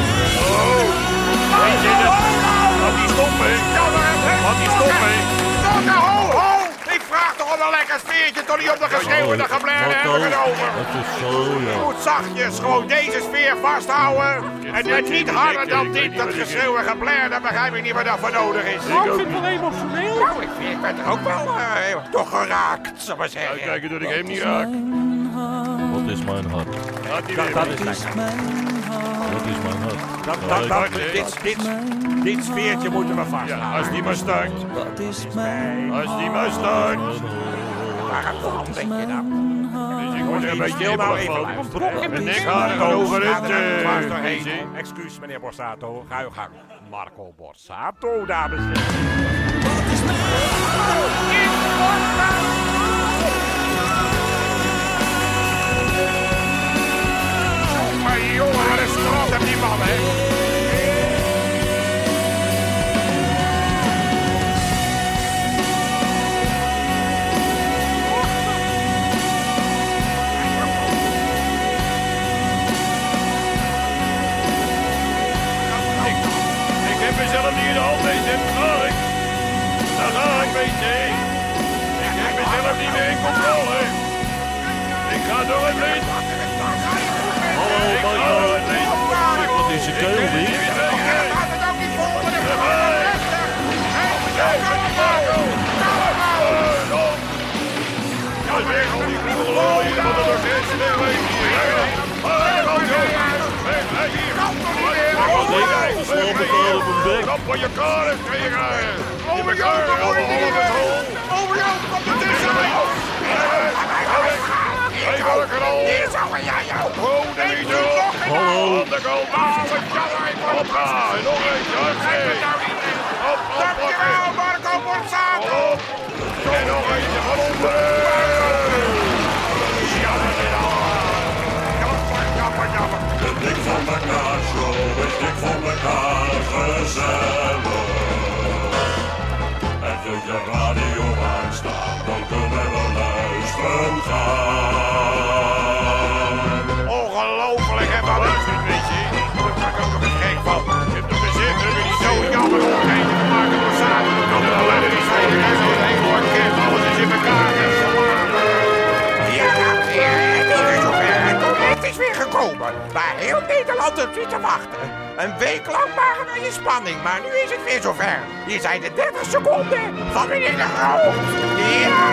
[SPEAKER 3] Oh, nou,
[SPEAKER 1] Weet je dat? Laat die stoppen. Laat die stoppen.
[SPEAKER 3] Tot ho, ho! Ik vraag toch om een lekker sfeertje, tot niet op de geschreeuwde geblerden
[SPEAKER 2] Marco,
[SPEAKER 3] hebben genomen.
[SPEAKER 2] dat is zo,
[SPEAKER 3] Je
[SPEAKER 2] ja.
[SPEAKER 3] moet zachtjes gewoon deze sfeer vasthouden. En net niet harder dan dit, dat geschreeuw en gebler. Dan begrijp ik niet meer dat voor nodig is.
[SPEAKER 4] Nou, ik vind het wel emotioneel.
[SPEAKER 3] Nou, ik, vind- ik ben toch ook wel eh, toch geraakt, zal ik maar zeggen.
[SPEAKER 1] Kijken dat ik hem niet raak.
[SPEAKER 2] Dat is mijn hart.
[SPEAKER 1] Laat die weer.
[SPEAKER 3] is lekker.
[SPEAKER 2] Dat is mijn hart.
[SPEAKER 3] Dat,
[SPEAKER 2] Ja,
[SPEAKER 3] dat,
[SPEAKER 2] ik-
[SPEAKER 3] dat, dit, dit, dit sfeertje moeten we
[SPEAKER 1] Ja,
[SPEAKER 3] vasthouden.
[SPEAKER 1] als die maar staakt.
[SPEAKER 6] Wat is mijn
[SPEAKER 1] Als die maar staakt.
[SPEAKER 3] Maar waarom denk je nou?
[SPEAKER 1] Dus ik word er een beetje
[SPEAKER 3] Stil nou
[SPEAKER 1] kribbelig
[SPEAKER 3] even.
[SPEAKER 1] van.
[SPEAKER 3] Een
[SPEAKER 1] Mijn nek haren gaan over
[SPEAKER 3] Ga er nou dwars
[SPEAKER 1] het. eh,
[SPEAKER 3] doorheen.
[SPEAKER 1] zie.
[SPEAKER 3] Excuus, meneer Borsato. Ga uw gang. Marco Borsato, dames en heren. Maar jongen, wat een
[SPEAKER 1] Oh,
[SPEAKER 3] straat heb die man, hè?
[SPEAKER 1] Ik ik mezelf niet in de hand deze en ga ik. Daar ga ik mee nee. Ik heb mezelf niet meer in controle. Ik ga door het lint.
[SPEAKER 2] Hallo,
[SPEAKER 1] Ik ga door het lint.
[SPEAKER 2] Oh, Wat is je
[SPEAKER 1] Ik
[SPEAKER 2] keel
[SPEAKER 1] ben niet
[SPEAKER 2] weer?
[SPEAKER 1] meer tegen. Kijk, met die Marco. Ja, weg al die goede looien van de orkesten. Weg, weg, hier. Weg, weg, weg, weg, weg, hier.
[SPEAKER 2] Wat denk je? Verslappen elkaar op een bek.
[SPEAKER 1] Kap van je karen tegen. Over jou, over jou, over jou. Het is er niet. Hij wil een knal. Gewoon niet doen.
[SPEAKER 2] Hallo.
[SPEAKER 1] Aan de kant. Hoppa, en nog eentje. Huppakee. Hop, hop, hop. Hop. En nog eentje van onderen.
[SPEAKER 7] Dik van elkaar, zo is dik van elkaar gezellig. Heb je je radio aanstaan, dan kunnen we luisteren gaan.
[SPEAKER 3] Ongelooflijk, hè, wat is dit, weet je? Daar kan ik ook een gek van. Je hebt de bezitter weer zo jammer om een einde te maken door zaken. Dan kan er alleen niet zijn. Ik heb zo'n hele orkest, alles is in elkaar. en zo maar. Ja, ja, het is zover. Het moment is weer gekomen. Waar heel Nederland op zit te wachten. Een week lang waren we in spanning, maar nu is het weer zover. Hier zijn de 30 seconden van meneer de Groot. Ja!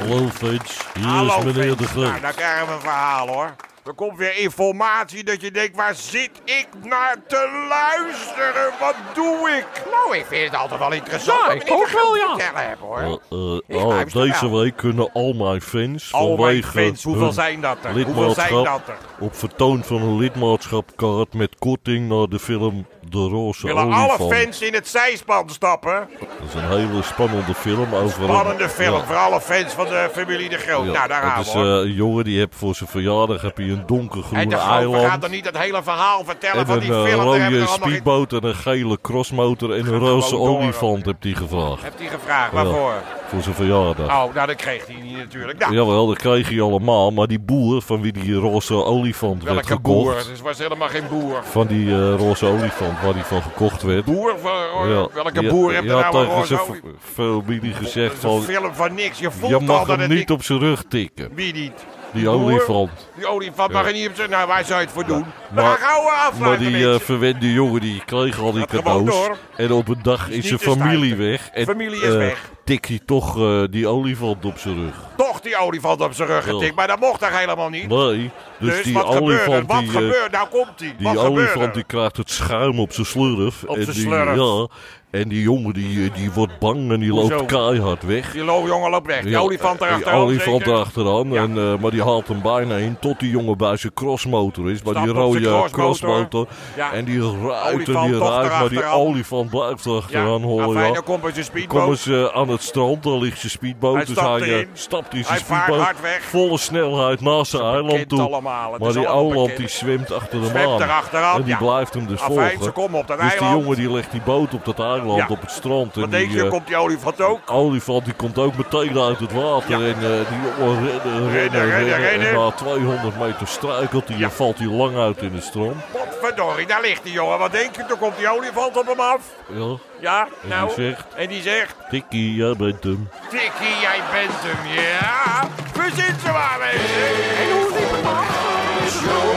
[SPEAKER 2] Hallo, Fitch. Hier
[SPEAKER 3] Hallo,
[SPEAKER 2] is meneer de
[SPEAKER 3] Frits. Nou,
[SPEAKER 2] Groot.
[SPEAKER 3] dan krijgen we een verhaal hoor. Er komt weer informatie dat je denkt, waar zit ik naar te luisteren? Wat doe ik? Nou, ik vind het altijd wel interessant.
[SPEAKER 4] Ja,
[SPEAKER 3] wat
[SPEAKER 4] ik
[SPEAKER 3] meneer de
[SPEAKER 4] ook wel,
[SPEAKER 3] Groot
[SPEAKER 4] ja.
[SPEAKER 3] te vertellen hebt, hoor.
[SPEAKER 2] Eh, eh,
[SPEAKER 3] Nou, Ik
[SPEAKER 2] ah,
[SPEAKER 3] luister
[SPEAKER 2] deze
[SPEAKER 3] wel.
[SPEAKER 2] week kunnen al mijn fans
[SPEAKER 3] Al mijn
[SPEAKER 2] vanwege
[SPEAKER 3] fans, hoeveel
[SPEAKER 2] hun
[SPEAKER 3] zijn dat er? Hoeveel
[SPEAKER 2] lidmaatschap
[SPEAKER 3] zijn dat er?
[SPEAKER 2] op vertoon van een lidmaatschapkaart met korting naar de film De Roze
[SPEAKER 3] Willen alle
[SPEAKER 2] Olifant.
[SPEAKER 3] fans in het zijspan stappen?
[SPEAKER 2] Dat is een hele spannende film over een-
[SPEAKER 3] Spannende film
[SPEAKER 2] Ja.
[SPEAKER 3] voor alle fans van de familie De Groot.
[SPEAKER 2] Ja,
[SPEAKER 3] nou, daar gaan
[SPEAKER 2] dat
[SPEAKER 3] we
[SPEAKER 2] is
[SPEAKER 3] hoor.
[SPEAKER 2] eh, een jongen die heeft voor zijn verjaardag heb hij een
[SPEAKER 3] en
[SPEAKER 2] donkergroene
[SPEAKER 3] De Groot gaat
[SPEAKER 2] eiland.
[SPEAKER 3] dan niet het hele verhaal vertellen
[SPEAKER 2] En
[SPEAKER 3] van
[SPEAKER 2] een
[SPEAKER 3] die
[SPEAKER 2] eh,
[SPEAKER 3] film. Daar heb ik
[SPEAKER 2] rode
[SPEAKER 3] er allemaal geen-
[SPEAKER 2] speedboot en een gele crossmotor en een roze
[SPEAKER 3] gewoon door.
[SPEAKER 2] olifant heb hij gevraagd.
[SPEAKER 3] Hebt hij gevraagd,
[SPEAKER 2] Ja,
[SPEAKER 3] waarvoor?
[SPEAKER 2] Voor zijn verjaardag.
[SPEAKER 3] Oh, nou, dat kreeg hij niet natuurlijk. Nou,
[SPEAKER 2] Jawel, dat kreeg hij allemaal, maar die boer van wie die roze olifant werd
[SPEAKER 3] welke
[SPEAKER 2] gekocht.
[SPEAKER 3] boer? Dus was helemaal geen boer.
[SPEAKER 2] Van die eh, roze olifant waar die van gekocht werd.
[SPEAKER 3] boer? Van,
[SPEAKER 2] Ja,
[SPEAKER 3] welke
[SPEAKER 2] die-
[SPEAKER 3] boer heb je
[SPEAKER 2] die had
[SPEAKER 3] nou een
[SPEAKER 2] tegen
[SPEAKER 3] roze
[SPEAKER 2] zijn
[SPEAKER 3] olie?
[SPEAKER 2] fa- familie
[SPEAKER 3] Dat
[SPEAKER 2] gezegd
[SPEAKER 3] is een
[SPEAKER 2] van,
[SPEAKER 3] film van niks. Je voelt
[SPEAKER 2] je
[SPEAKER 3] al
[SPEAKER 2] mag
[SPEAKER 3] dat
[SPEAKER 2] hem
[SPEAKER 3] het
[SPEAKER 2] niet
[SPEAKER 3] niet...
[SPEAKER 2] op zijn rug tikken.
[SPEAKER 3] Wie niet?
[SPEAKER 2] Die
[SPEAKER 3] boer?
[SPEAKER 2] olifant.
[SPEAKER 3] Die olifant mag er niet op zijn... Nou, waar zou je het voor doen?
[SPEAKER 2] maar-
[SPEAKER 3] Maar, gaan gauw afsluiten,
[SPEAKER 2] Maar die eh,
[SPEAKER 3] mensen.
[SPEAKER 2] verwende jongen die kreeg al die
[SPEAKER 3] Gaat gewoon
[SPEAKER 2] cadeaus.
[SPEAKER 3] door.
[SPEAKER 2] En op een dag
[SPEAKER 3] niet
[SPEAKER 2] is zijn
[SPEAKER 3] te stuiten.
[SPEAKER 2] familie weg. En,
[SPEAKER 3] Familie is
[SPEAKER 2] eh,
[SPEAKER 3] weg.
[SPEAKER 2] Tikt hij toch eh, die olifant op zijn rug?
[SPEAKER 3] Toch die olifant op zijn rug getikt.
[SPEAKER 2] eh, Ja.
[SPEAKER 3] Maar dat mocht daar helemaal niet.
[SPEAKER 2] Nee. Dus,
[SPEAKER 3] Dus
[SPEAKER 2] die
[SPEAKER 3] wat gebeurt er?
[SPEAKER 2] olifant
[SPEAKER 3] Wat
[SPEAKER 2] die. eh,
[SPEAKER 3] gebeurt? Nou komt hij.
[SPEAKER 2] die
[SPEAKER 3] Wat gebeurt
[SPEAKER 2] olifant
[SPEAKER 3] er?
[SPEAKER 2] die krijgt het schuim op zijn slurf.
[SPEAKER 3] Op
[SPEAKER 2] en
[SPEAKER 3] zijn
[SPEAKER 2] die,
[SPEAKER 3] slurf.
[SPEAKER 2] Ja, en die jongen die, eh, die wordt bang en die loopt
[SPEAKER 3] Hoezo?
[SPEAKER 2] keihard weg.
[SPEAKER 3] Die loopjongen loopt weg. Die
[SPEAKER 2] Ja,
[SPEAKER 3] olifant
[SPEAKER 2] eh,
[SPEAKER 3] erachter.
[SPEAKER 2] Die olifant
[SPEAKER 3] zeker?
[SPEAKER 2] erachteraan.
[SPEAKER 3] Ja.
[SPEAKER 2] En, eh, maar die haalt hem bijna in tot die jongen bij zijn crossmotor is. Maar
[SPEAKER 3] Stapt
[SPEAKER 2] die
[SPEAKER 3] op zijn
[SPEAKER 2] rode eh, crossmotor.
[SPEAKER 3] crossmotor. Ja.
[SPEAKER 2] En die ruit en
[SPEAKER 3] Olifant
[SPEAKER 2] die
[SPEAKER 3] toch
[SPEAKER 2] ruit. Maar die
[SPEAKER 3] erachteraan.
[SPEAKER 2] olifant blijft
[SPEAKER 3] Ja,
[SPEAKER 2] erachteraan
[SPEAKER 3] nou,
[SPEAKER 2] hollen.
[SPEAKER 3] fijn,
[SPEAKER 2] Ja.
[SPEAKER 3] dan komt bij zijn
[SPEAKER 2] Kom
[SPEAKER 3] speedboot.
[SPEAKER 2] eens eh, aan het strand, daar ligt zijn speedboot.
[SPEAKER 3] Hij
[SPEAKER 2] dus
[SPEAKER 3] stapt
[SPEAKER 2] hij eh,
[SPEAKER 3] erin.
[SPEAKER 2] stapt in zijn
[SPEAKER 3] Hij vaart
[SPEAKER 2] speedboot.
[SPEAKER 3] hard weg.
[SPEAKER 2] Volle snelheid naast zijn eiland
[SPEAKER 3] bekend
[SPEAKER 2] toe.
[SPEAKER 3] allemaal, het
[SPEAKER 2] Maar
[SPEAKER 3] is
[SPEAKER 2] die
[SPEAKER 3] allemaal
[SPEAKER 2] eiland
[SPEAKER 3] bekend.
[SPEAKER 2] die zwemt achter hem
[SPEAKER 3] Zwemt
[SPEAKER 2] aan.
[SPEAKER 3] erachteraan,
[SPEAKER 2] En die
[SPEAKER 3] ja.
[SPEAKER 2] blijft hem dus
[SPEAKER 3] Afijn, ze
[SPEAKER 2] volgen.
[SPEAKER 3] komen op dat
[SPEAKER 2] dus die
[SPEAKER 3] eiland.
[SPEAKER 2] jongen die legt die boot op dat eiland,
[SPEAKER 3] Ja.
[SPEAKER 2] op het strand. en
[SPEAKER 3] Wat denk
[SPEAKER 2] die,
[SPEAKER 3] je?
[SPEAKER 2] eh,
[SPEAKER 3] Komt die olifant ook?
[SPEAKER 2] olifant die komt ook meteen uit het water. En eh, die jongen rennen, rennen,
[SPEAKER 3] Rennen, rennen, rennen.
[SPEAKER 2] En na 200 meter struikelt hij en valt hij lang uit in de stroom.
[SPEAKER 3] Potverdorie, daar ligt die jongen. Wat denk je? Toen komt die olifant op hem af.
[SPEAKER 2] Ja,
[SPEAKER 3] Ja,
[SPEAKER 2] En
[SPEAKER 3] nou.
[SPEAKER 2] die zegt-
[SPEAKER 3] En die zegt,
[SPEAKER 2] Tikkie, jij bent hem.
[SPEAKER 3] Tikkie, jij bent hem, ja. Verzin ze maar, mensen.
[SPEAKER 4] En hoe liep het af?
[SPEAKER 2] Dat is natuurlijk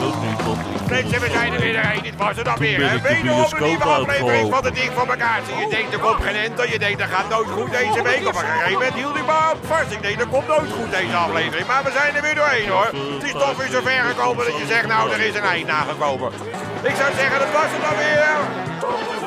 [SPEAKER 2] ook niet, want ik vond
[SPEAKER 3] Mensen, we
[SPEAKER 2] het
[SPEAKER 3] zijn er weer doorheen. Dit was het alweer,
[SPEAKER 2] Ben
[SPEAKER 3] hè.
[SPEAKER 2] ik de
[SPEAKER 3] Wederom een nieuwe
[SPEAKER 2] bioscoop
[SPEAKER 3] aflevering
[SPEAKER 2] uitgelopen?
[SPEAKER 3] van het Ding van elkaar. Zie, Je denkt, er komt geen enter. Je denkt, dat gaat nooit goed deze week. Op een gegeven moment hield ik me aan vast. Ik denk, dat komt nooit goed deze aflevering. Maar we zijn er weer doorheen, hoor. Het is toch weer zover gekomen dat je zegt, nou, er is een eind nagekomen. Ik zou zeggen, dat was het alweer. Tot de